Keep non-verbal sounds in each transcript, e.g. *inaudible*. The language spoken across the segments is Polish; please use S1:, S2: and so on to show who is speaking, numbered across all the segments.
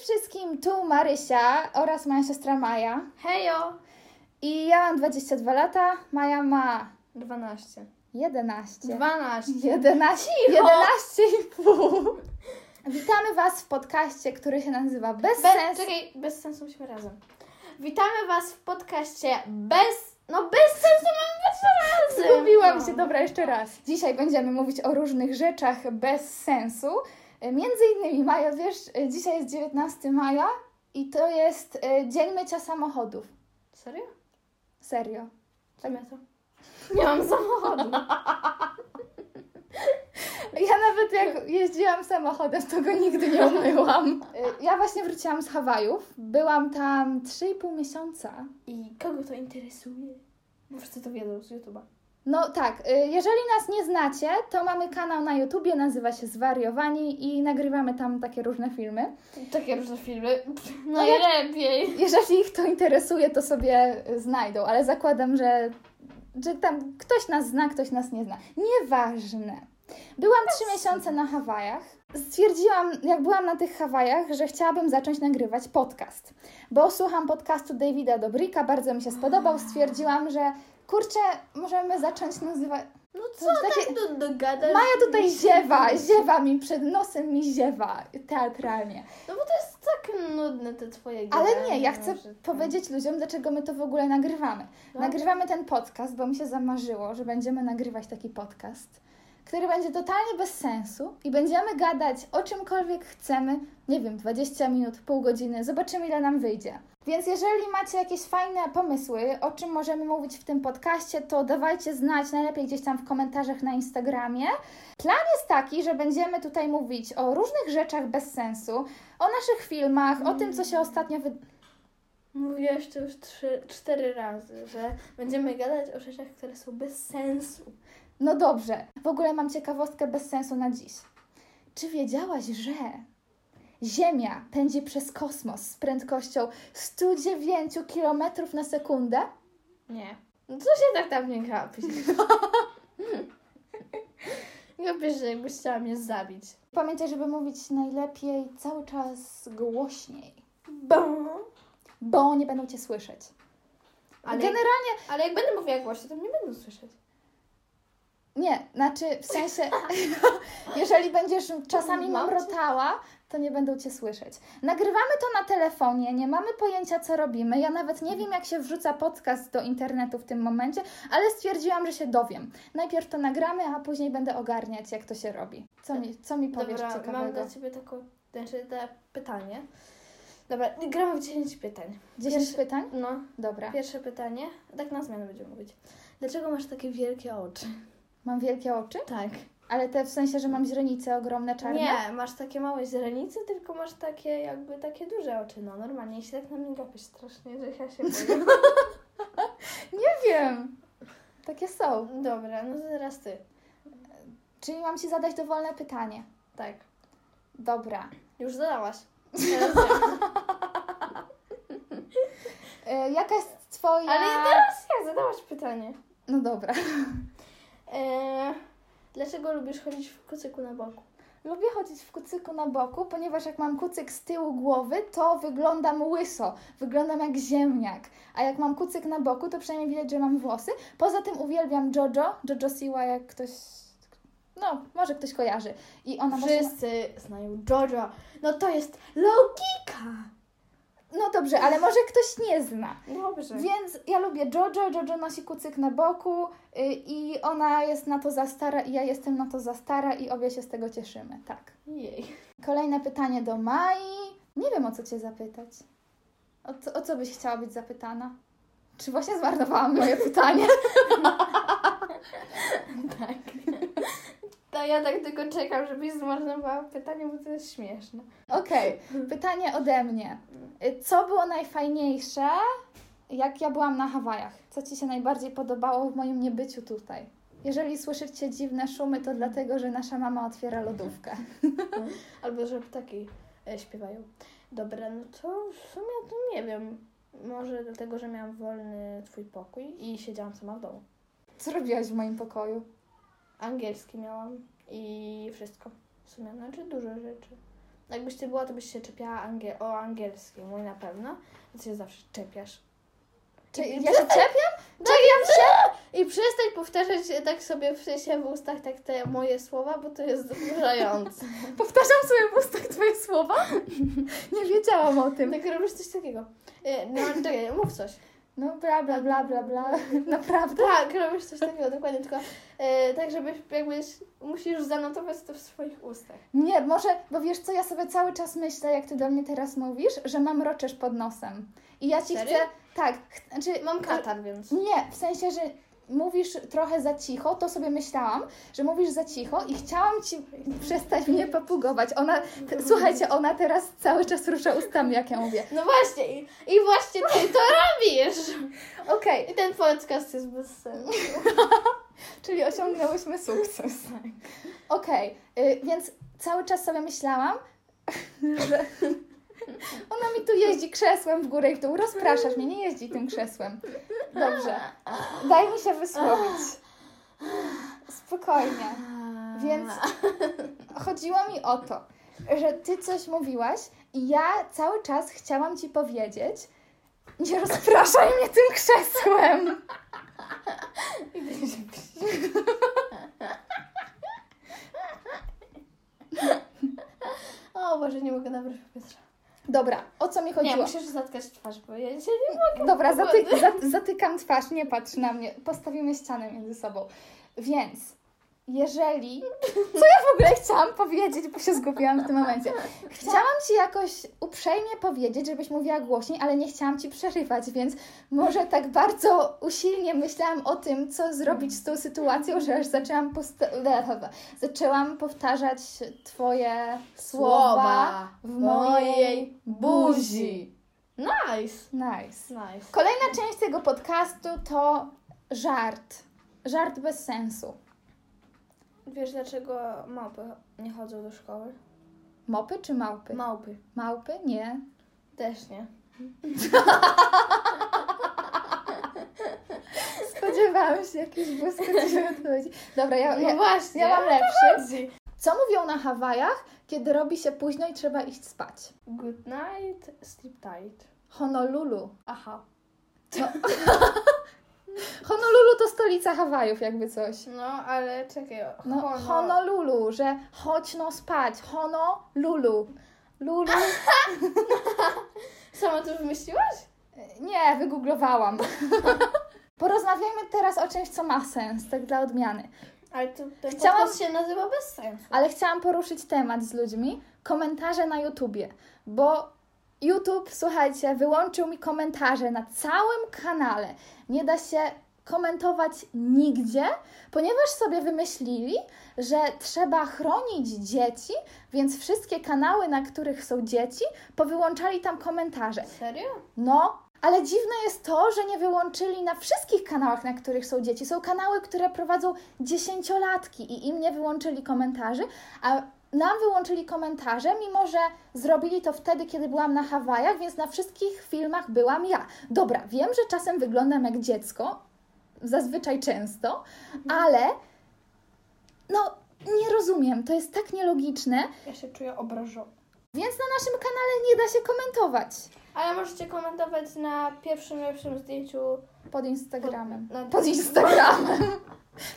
S1: wszystkim, tu Marysia oraz moja siostra Maja.
S2: Hejo!
S1: I ja mam 22 lata, Maja ma
S2: 12.
S1: 11.
S2: 12.
S1: 11, 11 i pół. Witamy Was w podcaście, który się nazywa Bez
S2: Bez,
S1: Sensu.
S2: Czekaj, bez sensu musimy razem. Witamy Was w podcaście bez... No bez sensu mamy być razem!
S1: Zgubiłam
S2: No.
S1: się, dobra, jeszcze raz. Dzisiaj będziemy mówić o różnych rzeczach bez sensu. E, Między innymi, Maja, wiesz, e, dzisiaj jest 19 maja i to jest e, Dzień Mycia Samochodów.
S2: Serio?
S1: Serio.
S2: Tak ja to. *laughs* Nie mam samochodu.
S1: Ja nawet jak jeździłam samochodem, to go nigdy nie umyłam. E, Ja właśnie wróciłam z Hawajów. Byłam tam 3,5 miesiąca.
S2: I kogo to interesuje? Bo wszyscy to wiedzą z YouTube'a.
S1: No tak, y, jeżeli nas nie znacie, to mamy kanał na YouTubie, nazywa się Zwariowani i nagrywamy tam takie różne filmy.
S2: Takie różne filmy. No
S1: jak-
S2: Najlepiej.
S1: Jeżeli ich to interesuje, to sobie y, znajdą, ale zakładam, że, że tam ktoś nas zna, ktoś nas nie zna. Nieważne. Byłam trzy miesiące na Hawajach. Stwierdziłam, jak byłam na tych Hawajach, że chciałabym zacząć nagrywać podcast, bo słucham podcastu Davida Dobrika, bardzo mi się spodobał. Stwierdziłam, że kurczę, możemy zacząć nazywać.
S2: No co
S1: Takie-
S2: tak do, dogadasz?
S1: Maja
S2: *laughs*
S1: tutaj ziewa, ziewa mi, przed nosem mi ziewa teatralnie.
S2: No bo to jest tak nudne te twoje
S1: Ale
S2: gadanie, no,
S1: nie, ja chcę
S2: że-
S1: powiedzieć ludziom, dlaczego my to w ogóle nagrywamy.
S2: No.
S1: Nagrywamy ten podcast, bo mi się zamarzyło, że będziemy nagrywać taki podcast, który będzie totalnie bez sensu i będziemy gadać o czymkolwiek chcemy, nie wiem, 20 minut, pół godziny, zobaczymy ile nam wyjdzie. Więc jeżeli macie jakieś fajne pomysły, o czym możemy mówić w tym podcaście, to dawajcie znać, najlepiej gdzieś tam w komentarzach na Instagramie. Plan jest taki, że będziemy tutaj mówić o różnych rzeczach bez sensu, o naszych filmach, o tym, co się ostatnio wy...
S2: Mówiłaś to już trzy, cztery razy, że będziemy gadać o rzeczach, które są bez sensu.
S1: No dobrze, w ogóle mam ciekawostkę bez sensu na dziś. Czy wiedziałaś, że Ziemia pędzi przez kosmos z prędkością 109 km na sekundę?
S2: Nie. No co się tak tam nie gapisz? No. *laughs* Gapisz, że jakbyś chciała mnie zabić.
S1: Pamiętaj, żeby mówić najlepiej cały czas głośniej,
S2: Bum.
S1: bo nie będą Cię słyszeć.
S2: Ale,
S1: Generalnie,
S2: ale jak będę mówiła głośno, to mnie będą słyszeć.
S1: nie, znaczy w sensie, *laughs* jeżeli będziesz czasami
S2: Mam cię.
S1: mamrotała, to nie będą Cię słyszeć. Nagrywamy to na telefonie, nie mamy pojęcia, co robimy. Ja nawet nie wiem, jak się wrzuca podcast do internetu w tym momencie, ale stwierdziłam, że się dowiem. Najpierw to nagramy, a później będę ogarniać, jak to się robi. Co mi, co mi powiesz
S2: Dobra, mam
S1: ciekawego?
S2: dla ciebie taką, znaczy te pytanie. Dobra, gramy w 10 pytań.
S1: 10
S2: Pierwsze-
S1: pytań?
S2: No,
S1: Dobra.
S2: pierwsze pytanie. Tak na zmianę będziemy mówić. Dlaczego masz takie wielkie oczy?
S1: Mam wielkie oczy,
S2: Tak.
S1: ale te w sensie, że mam źrenice ogromne, czarne?
S2: Nie, masz takie małe źrenice, tylko masz takie jakby takie duże oczy. No normalnie, jeśli tak na mnie gapisz strasznie, że ja się boję.
S1: Nie wiem. Takie są.
S2: *laughs* Dobra, no teraz ty.
S1: Czyli mam Ci zadać dowolne pytanie.
S2: Tak.
S1: Dobra.
S2: Już zadałaś. Teraz ja.
S1: E, jaka jest Twoja...
S2: Ale teraz ja zadałaś pytanie.
S1: No dobra.
S2: Eee, dlaczego lubisz chodzić w kucyku na boku?
S1: Lubię chodzić w kucyku na boku, ponieważ jak mam kucyk z tyłu głowy, to wyglądam łyso, wyglądam jak ziemniak. A jak mam kucyk na boku, to przynajmniej widać, że mam włosy. Poza tym uwielbiam Jojo, Jojo Siła, jak ktoś. No, może ktoś kojarzy. I ona właśnie. Ma...
S2: Wszyscy znają Jojo. No to jest logika.
S1: No dobrze, ale może ktoś nie zna.
S2: Dobrze.
S1: Więc ja lubię Jojo, Jojo nosi kucyk na boku y, i ona jest na to za stara i ja jestem na to za stara i obie się z tego cieszymy, tak.
S2: Jej.
S1: Kolejne pytanie do Mai. Nie wiem, o co Cię zapytać. O co, o co byś chciała być zapytana? Czy właśnie zmarnowałam moje *laughs* pytanie?
S2: Tak. To ja tak tylko czekam, żebyś zmarnowała pytanie, bo to jest śmieszne.
S1: Okej, pytanie ode mnie. Y, Co było najfajniejsze, jak ja byłam na Hawajach? Co Ci się najbardziej podobało w moim niebyciu tutaj? Jeżeli słyszycie dziwne szumy, to dlatego, że nasza mama otwiera lodówkę.
S2: Albo że ptaki e, śpiewają. Dobra, no to w sumie to nie wiem. Może dlatego, że miałam wolny twój pokój i siedziałam sama w domu.
S1: Co robiłaś w moim pokoju?
S2: Angielski miałam i wszystko. W sumie, znaczy dużo rzeczy. Jakbyś ty była, to byś się czepiała angiel- o angielski, mój na pewno. Ty się zawsze czepiasz.
S1: Czy
S2: I
S1: ja się czepiam?
S2: Czepiam się! I przestań powtarzać tak sobie w sensie w ustach tak te moje słowa, bo to *laughs* jest wkurzające.
S1: Powtarzam sobie w ustach twoje słowa? *laughs* Nie wiedziałam o tym.
S2: tak robisz coś takiego. E, No, czekaj, mów coś.
S1: No bla, bla, bla, bla, bla. *laughs* Naprawdę?
S2: Tak, robisz coś takiego, dokładnie, tylko e, tak, żebyś jakbyś, musisz zanotować to w swoich ustach.
S1: Nie, może, bo wiesz co, ja sobie cały czas myślę, jak ty do mnie teraz mówisz, że mam roczesz pod nosem. I ja ci
S2: Serio?
S1: chcę... Tak, ch- znaczy...
S2: Mam katar, więc...
S1: Nie, w sensie, że mówisz trochę za cicho, to sobie myślałam, że mówisz za cicho i chciałam ci przestać mnie papugować. Ona, t- słuchajcie, ona teraz cały czas rusza ustami, jak ja mówię.
S2: No właśnie, i, i właśnie *laughs* ty to robisz!
S1: Okej,
S2: I ten podcast jest bez sensu.
S1: czyli osiągnęłyśmy sukces. *laughs* Okej, y, więc cały czas sobie myślałam, *laughs* że *laughs* ona mi tu jeździ krzesłem w górę i w dół. Rozpraszasz mnie, nie jeździ tym krzesłem. Dobrze, daj mi się wysłowić. Spokojnie. Więc chodziło mi o to, że ty coś mówiłaś i ja cały czas chciałam ci powiedzieć, nie rozpraszaj mnie tym krzesłem.
S2: O Boże, nie mogę nabrać powietrza.
S1: Dobra, o co mi
S2: Nie,
S1: chodziło?
S2: musisz zatkać twarz, bo ja dzisiaj nie mogę.
S1: Dobra, zaty, za- zatykam twarz, nie patrz na mnie. Postawimy ścianę między sobą. Więc, jeżeli... Co ja w ogóle chciałam powiedzieć, bo się zgubiłam w tym momencie. Chciałam ci jakoś uprzejmie powiedzieć, żebyś mówiła głośniej, ale nie chciałam ci przerywać, więc może tak bardzo usilnie myślałam o tym, co zrobić z tą sytuacją, że aż zaczęłam, posta- le- le- le- zaczęłam powtarzać twoje słowa w mojej buzi.
S2: Nice.
S1: Nice.
S2: Nice.
S1: Kolejna część tego podcastu to żart. Żart bez sensu.
S2: Wiesz dlaczego małpy nie chodzą do szkoły?
S1: Mopy czy małpy?
S2: Małpy.
S1: Małpy? Nie.
S2: Też nie.
S1: *laughs* Spodziewałam się jakiejś błyskotliwej *laughs* odpowiedzi. Dobra, ja,
S2: No
S1: ja,
S2: właśnie.
S1: ja mam lepszy.
S2: lepszy.
S1: Co mówią na Hawajach, kiedy robi się późno i trzeba iść spać?
S2: Good night, sleep tight.
S1: Honolulu.
S2: Aha.
S1: Honolulu to stolica Hawajów, jakby coś.
S2: No, ale czekaj.
S1: No,
S2: hono-
S1: Honolulu, że chodź no spać. Honolulu. Lulu.
S2: Sama to wymyśliłaś?
S1: Nie, *laughs* wygooglowałam. Porozmawiajmy teraz o czymś, co ma sens, tak dla odmiany.
S2: Ale to ten
S1: Chciałam-
S2: podcast się nazywa bez sensu.
S1: Ale chciałam poruszyć temat z ludźmi, komentarze na YouTubie, bo YouTube, słuchajcie, wyłączył mi komentarze na całym kanale. Nie da się komentować nigdzie, ponieważ sobie wymyślili, że trzeba chronić dzieci, więc wszystkie kanały, na których są dzieci, powyłączali tam komentarze.
S2: Serio?
S1: No, ale dziwne jest to, że nie wyłączyli na wszystkich kanałach, na których są dzieci. Są kanały, które prowadzą dziesięciolatki i im nie wyłączyli komentarzy, a nam wyłączyli komentarze, mimo że zrobili to wtedy, kiedy byłam na Hawajach, więc na wszystkich filmach byłam ja. Dobra, wiem, że czasem wyglądam jak dziecko, zazwyczaj często, ale no nie rozumiem, to jest tak nielogiczne,
S2: Ja się czuję obrażona.
S1: więc na naszym kanale nie da się komentować
S2: Ale możecie komentować na pierwszym lepszym zdjęciu. No,
S1: pod Instagramem.
S2: Pod- na-
S1: pod Instagramem. *laughs*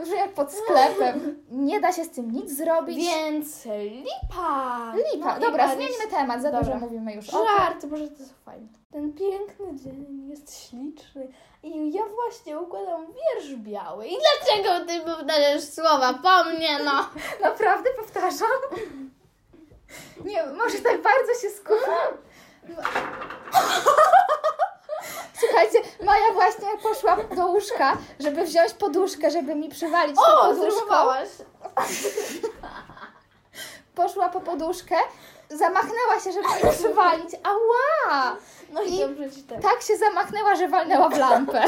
S1: Już jak pod sklepem. Nie da się z tym nic zrobić.
S2: Więc lipa!
S1: Lipa.
S2: No i
S1: Dobra,
S2: Maryś-
S1: zmieńmy temat, za dużo
S2: Dobra.
S1: mówimy już o tym.
S2: Żart, boże, to jest fajne. Ten piękny dzień jest śliczny i ja właśnie układam wiersz biały. I dlaczego ty powtarzasz słowa po mnie, *laughs* no?
S1: *laughs* Naprawdę powtarzam? Nie, może tak bardzo się skupiam. *laughs* Słuchajcie, Maja właśnie poszła do łóżka, żeby wziąć poduszkę, żeby mi przywalić tą
S2: O,
S1: poduszką.
S2: zrobiłaś!
S1: Poszła po poduszkę, zamachnęła się, żeby *laughs* mi przywalić. Ała!
S2: No i,
S1: I-
S2: dobrze ci tak.
S1: Tak się zamachnęła, że walnęła w
S2: *laughs*
S1: lampę.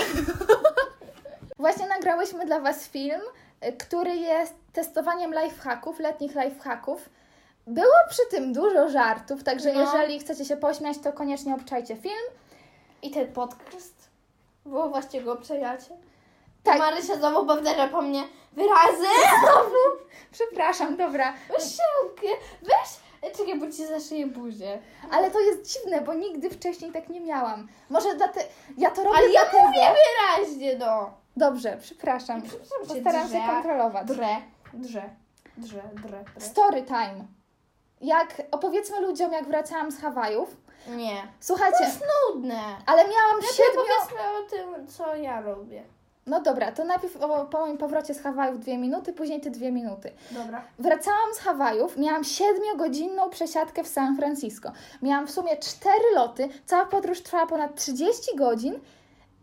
S1: Właśnie nagrałyśmy dla Was film, y, który jest testowaniem lifehacków, letnich lifehacków. Było przy tym dużo żartów, także
S2: No.
S1: jeżeli chcecie się pośmiać, to koniecznie obczajcie film.
S2: I ten podcast, bo właśnie go przejacie.
S1: Tak.
S2: Tak. Marysia znowu powtarza po mnie wyrazy. *laughs* Znowu.
S1: Przepraszam, dobra.
S2: Weź się, weź Ej, Czekaj, bo ci zaszyję buzię.
S1: Ale to jest dziwne, bo nigdy wcześniej tak nie miałam. Może dlatego. Ja to robię
S2: Ale ja
S1: dlatego.
S2: mówię wyraźnie, no.
S1: Dobrze, przepraszam.
S2: Przepraszam cię,
S1: Postaram się
S2: drze.
S1: kontrolować.
S2: Drę, drze, drze, drę, drę.
S1: Story time. Jak opowiedzmy ludziom, jak wracałam z Hawajów.
S2: Nie. To
S1: Słuchajcie,
S2: jest nudne.
S1: ale miałam
S2: Lepiej
S1: siedmiu...
S2: powiedzmy o tym, co ja robię.
S1: No dobra, to najpierw o, po moim powrocie z Hawajów dwie minuty, później te dwie minuty.
S2: Dobra.
S1: Wracałam z Hawajów, miałam siedmiogodzinną przesiadkę w San Francisco. Miałam w sumie cztery loty, cała podróż trwała ponad 30 godzin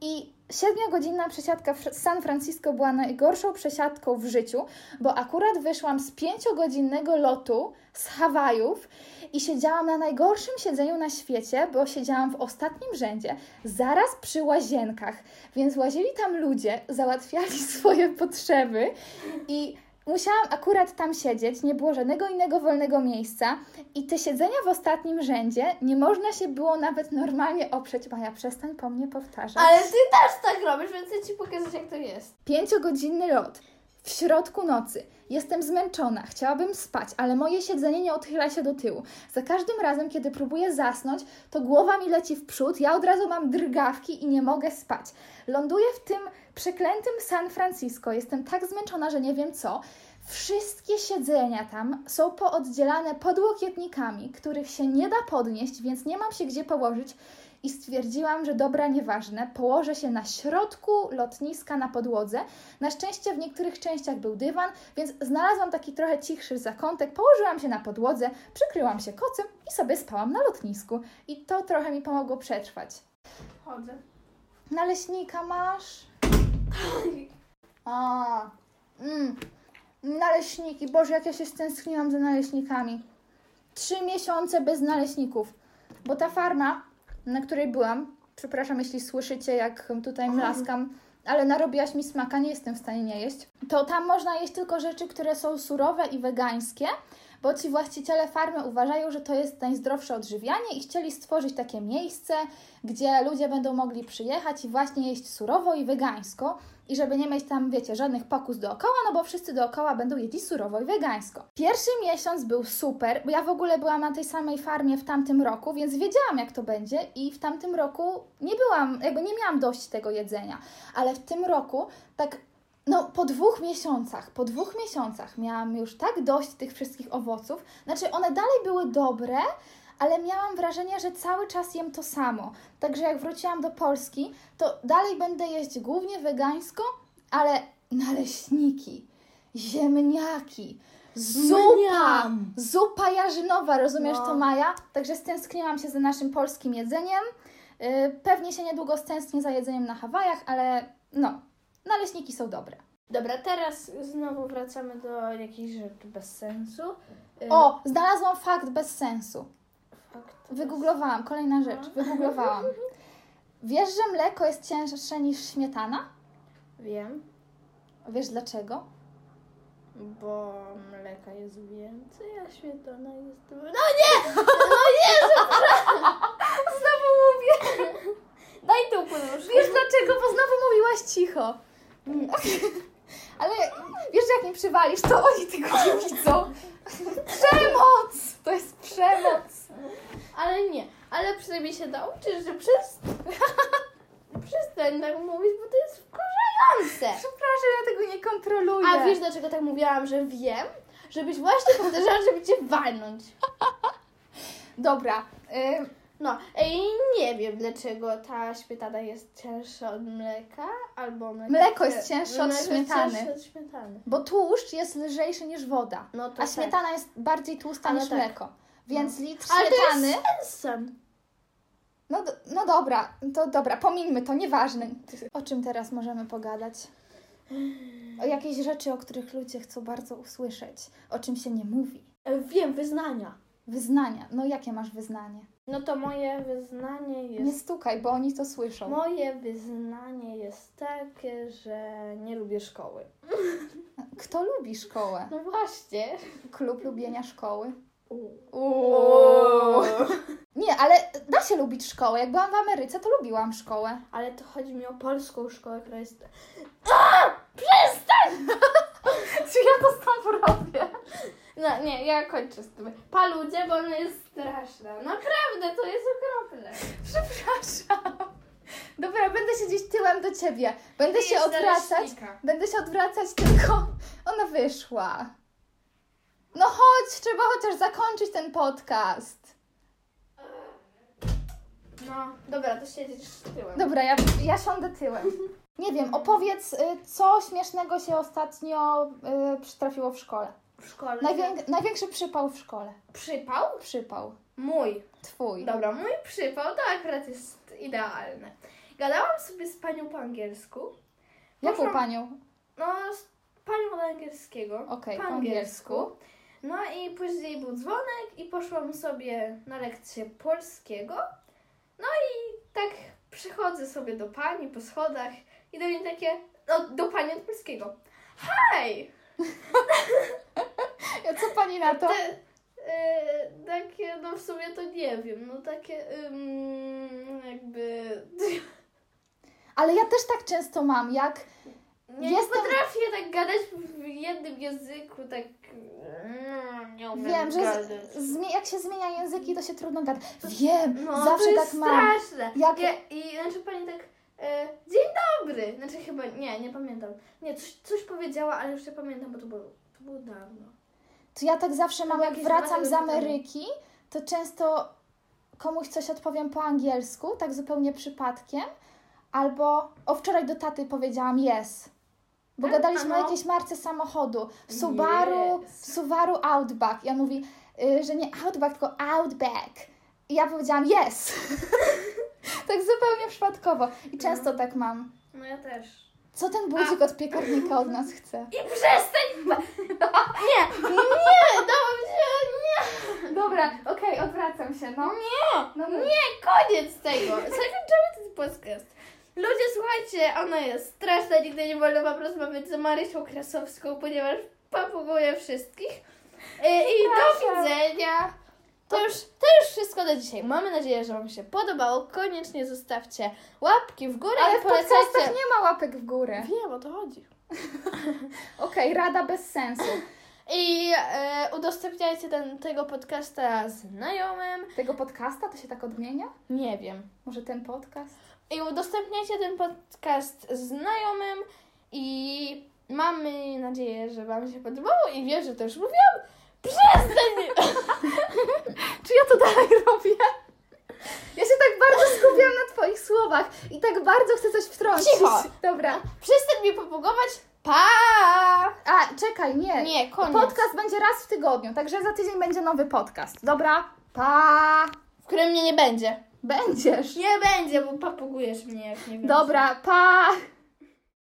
S1: i siedmiogodzinna przesiadka w San Francisco była najgorszą przesiadką w życiu, bo akurat wyszłam z pięciogodzinnego lotu z Hawajów i siedziałam na najgorszym siedzeniu na świecie, bo siedziałam w ostatnim rzędzie, zaraz przy łazienkach, więc łazili tam ludzie, załatwiali *laughs* swoje potrzeby i musiałam akurat tam siedzieć, nie było żadnego innego wolnego miejsca i te siedzenia w ostatnim rzędzie nie można się było nawet normalnie oprzeć. Maja, przestań po mnie powtarzać.
S2: Ale ty też tak robisz, więc chcę ci pokazać, jak to jest.
S1: Pięciogodzinny lot. W środku nocy. Jestem zmęczona, chciałabym spać, ale moje siedzenie nie odchyla się do tyłu. Za każdym razem, kiedy próbuję zasnąć, to głowa mi leci w przód, ja od razu mam drgawki i nie mogę spać. Ląduję w tym przeklętym San Francisco. Jestem tak zmęczona, że nie wiem co. Wszystkie siedzenia tam są pooddzielane podłokietnikami, których się nie da podnieść, więc nie mam się gdzie położyć i stwierdziłam, że dobra, nieważne, położę się na środku lotniska na podłodze. Na szczęście w niektórych częściach był dywan, więc znalazłam taki trochę cichszy zakątek, położyłam się na podłodze, przykryłam się kocem i sobie spałam na lotnisku. I to trochę mi pomogło przetrwać.
S2: Chodzę.
S1: Naleśnika masz? A, mm, naleśniki. Boże, jak ja się stęskniłam za naleśnikami. Trzy miesiące bez naleśników. Bo ta farma, na której byłam, przepraszam, jeśli słyszycie, jak tutaj mlaskam, ale narobiłaś mi smaka, nie jestem w stanie nie jeść. To tam można jeść tylko rzeczy, które są surowe i wegańskie, bo ci właściciele farmy uważają, że to jest najzdrowsze odżywianie i chcieli stworzyć takie miejsce, gdzie ludzie będą mogli przyjechać i właśnie jeść surowo i wegańsko i żeby nie mieć tam, wiecie, żadnych pokus dookoła, no bo wszyscy dookoła będą jedli surowo i wegańsko. Pierwszy miesiąc był super, bo ja w ogóle byłam na tej samej farmie w tamtym roku, więc wiedziałam jak to będzie i w tamtym roku nie byłam, jakby nie miałam dość tego jedzenia, ale w tym roku tak no, po dwóch miesiącach, po dwóch miesiącach miałam już tak dość tych wszystkich owoców. Znaczy, one dalej były dobre, ale miałam wrażenie, że cały czas jem to samo. Także jak wróciłam do Polski, to dalej będę jeść głównie wegańsko, ale naleśniki, ziemniaki, zupa,
S2: Mniam.
S1: zupa jarzynowa, rozumiesz
S2: No.
S1: to Maja? Także stęskniłam się za naszym polskim jedzeniem. Yy, Pewnie się niedługo stęsknię za jedzeniem na Hawajach, ale no, naleśniki są dobre.
S2: Dobra, teraz znowu wracamy do jakichś rzeczy bez sensu. Y,
S1: O, znalazłam fakt bez sensu.
S2: Fakt.
S1: Wygooglowałam, kolejna rzecz, wygooglowałam. Wiesz, że mleko jest cięższe niż śmietana?
S2: Wiem,
S1: Wiesz dlaczego?
S2: bo mleka jest więcej, a świetlana jest... No
S1: Znowu mówię!
S2: daj no tu poduszkę.
S1: Wiesz dlaczego? Bo znowu mówiłaś cicho.
S2: Mm.
S1: *laughs* Ale wiesz, że jak mi przywalisz, to oni tego nie widzą. Przemoc! To jest przemoc.
S2: Ale nie, ale przynajmniej się nauczysz, że przez... *laughs* przestań tak mówić, bo to jest wkurzające.
S1: Przepraszam, ja tego nie kontroluję.
S2: A wiesz dlaczego tak mówiłam, że wiem? Żebyś właśnie powtarzała, żeby cię walnąć.
S1: Dobra. y, ym,
S2: No, i nie wiem dlaczego ta śmietana jest cięższa od mleka, albo mleko,
S1: Mleko jest cięższe od
S2: mleko jest
S1: śmietany.
S2: cięższe od śmietany.
S1: bo tłuszcz jest lżejszy niż woda.
S2: No to
S1: A
S2: tak.
S1: śmietana jest bardziej tłusta
S2: Ale
S1: niż
S2: tak.
S1: mleko. Więc litr
S2: Ale to jest
S1: śmietany...
S2: Sam.
S1: No, do- no dobra, to dobra, pomińmy to, nieważne. O czym teraz możemy pogadać? O jakiejś rzeczy, o których ludzie chcą bardzo usłyszeć, o czym się nie mówi.
S2: E, Wiem, wyznania.
S1: Wyznania. No jakie masz wyznanie?
S2: No to moje wyznanie
S1: Nie
S2: jest...
S1: stukaj, bo oni to słyszą.
S2: Moje wyznanie jest takie, że nie lubię szkoły.
S1: Kto lubi szkołę?
S2: No właśnie.
S1: Klub lubienia szkoły.
S2: Uuu.
S1: Nie, ale da się lubić szkołę. Jak byłam w Ameryce, to lubiłam szkołę.
S2: Ale to chodzi mi o polską szkołę, która jest... *laughs*
S1: Czy ja to stąd robię?
S2: No nie, ja kończę z tym. Paludzie, bo ona jest straszna. Naprawdę, to jest okropne.
S1: Przepraszam. Dobra, będę siedzieć tyłem do ciebie. Będę
S2: Ty
S1: się
S2: jest
S1: odwracać.
S2: naleśnika.
S1: Będę się odwracać, tylko ona wyszła. No chodź, trzeba chociaż zakończyć ten podcast.
S2: No, dobra, to siedzisz z tyłem.
S1: Dobra, ja, ja siądę tyłem. Nie wiem, opowiedz, y, co śmiesznego się ostatnio y, przytrafiło w szkole.
S2: W szkole.
S1: Najwię- największy przypał w szkole.
S2: Przypał?
S1: Przypał.
S2: Mój.
S1: Twój.
S2: Dobra, mój przypał to akurat jest idealny. Gadałam sobie z panią po angielsku.
S1: Jaką
S2: Poszłam-
S1: panią?
S2: No, z panią od angielskiego.
S1: Okej, po angielsku.
S2: No i później był dzwonek i poszłam sobie na lekcję polskiego. No i tak przychodzę sobie do pani po schodach i do niej takie, no do pani od polskiego. Hej!
S1: Ja, co pani na to?
S2: Te, e, takie, no w sumie to nie wiem, no takie ym, jakby... *laughs*
S1: Ale ja też tak często mam, jak
S2: Nie, nie
S1: Jestem-
S2: potrafię tak gadać w jednym języku, tak... mm, Nie umiem
S1: Wiem, że
S2: gadać.
S1: z, zmie- jak się zmienia języki, to się trudno gada. Wiem,
S2: No,
S1: zawsze
S2: to
S1: tak
S2: jest
S1: mam.
S2: straszne.
S1: Jak-
S2: Ja, I znaczy pani tak, e, dzień dobry. Znaczy chyba, nie, nie pamiętam. Nie, coś, coś powiedziała, ale już nie pamiętam, bo to było, to było dawno.
S1: To ja tak zawsze mam, jak
S2: jakieś
S1: wracam
S2: dwa
S1: z
S2: razy
S1: Ameryki, to często komuś coś odpowiem po angielsku, tak zupełnie przypadkiem. Albo o wczoraj do taty powiedziałam yes. Bo
S2: Tak?
S1: gadaliśmy o
S2: Ano?
S1: jakiejś marce samochodu. Subaru,
S2: Yes.
S1: Subaru Outback. Ja mówi, y, że nie Outback, tylko Outback. I ja powiedziałam yes. *laughs* tak zupełnie przypadkowo. I często tak mam.
S2: No ja też.
S1: Co ten budzik od piekarnika od nas chce?
S2: I przestań! *laughs* No, nie, nie, dałam się, nie. Dobra, okej, odwracam się, no. Nie,
S1: No, no.
S2: nie, koniec tego. Zakończymy ten podcast. Ludzie, słuchajcie, ona jest straszna, nigdy nie wolno wam rozmawiać z Marysią Krasowską, ponieważ papuguje wszystkich. E, I do
S1: Przepraszam.
S2: widzenia. To już, to już wszystko na dzisiaj. Mamy nadzieję, że Wam się podobało. Koniecznie zostawcie łapki w górę
S1: Ale
S2: i
S1: w
S2: polecajcie.
S1: podcastach nie ma łapek w górę.
S2: Wiem, o to chodzi.
S1: Okej, rada bez sensu.
S2: I e, udostępniajcie ten, tego podcasta znajomym.
S1: Tego podcasta to się tak odmienia?
S2: Nie wiem.
S1: Może ten podcast?
S2: I udostępniajcie ten podcast znajomym. I mamy nadzieję, że Wam się podobało. I wiem, że to już mówiłam. Przestań!
S1: Czy ja to dalej robię? Ja się tak bardzo skupiam na Twoich słowach i tak bardzo chcę coś wtrącić.
S2: Cicho!
S1: Dobra.
S2: *laughs* Przestań mnie popugować. Pa!
S1: A, czekaj, nie.
S2: Nie, koniec.
S1: Podcast będzie raz w tygodniu, także za tydzień będzie nowy podcast. Dobra? Pa!
S2: W którym mnie nie będzie.
S1: Będziesz.
S2: Nie będzie, bo papugujesz mnie, jak nie wiem.
S1: Dobra, pa!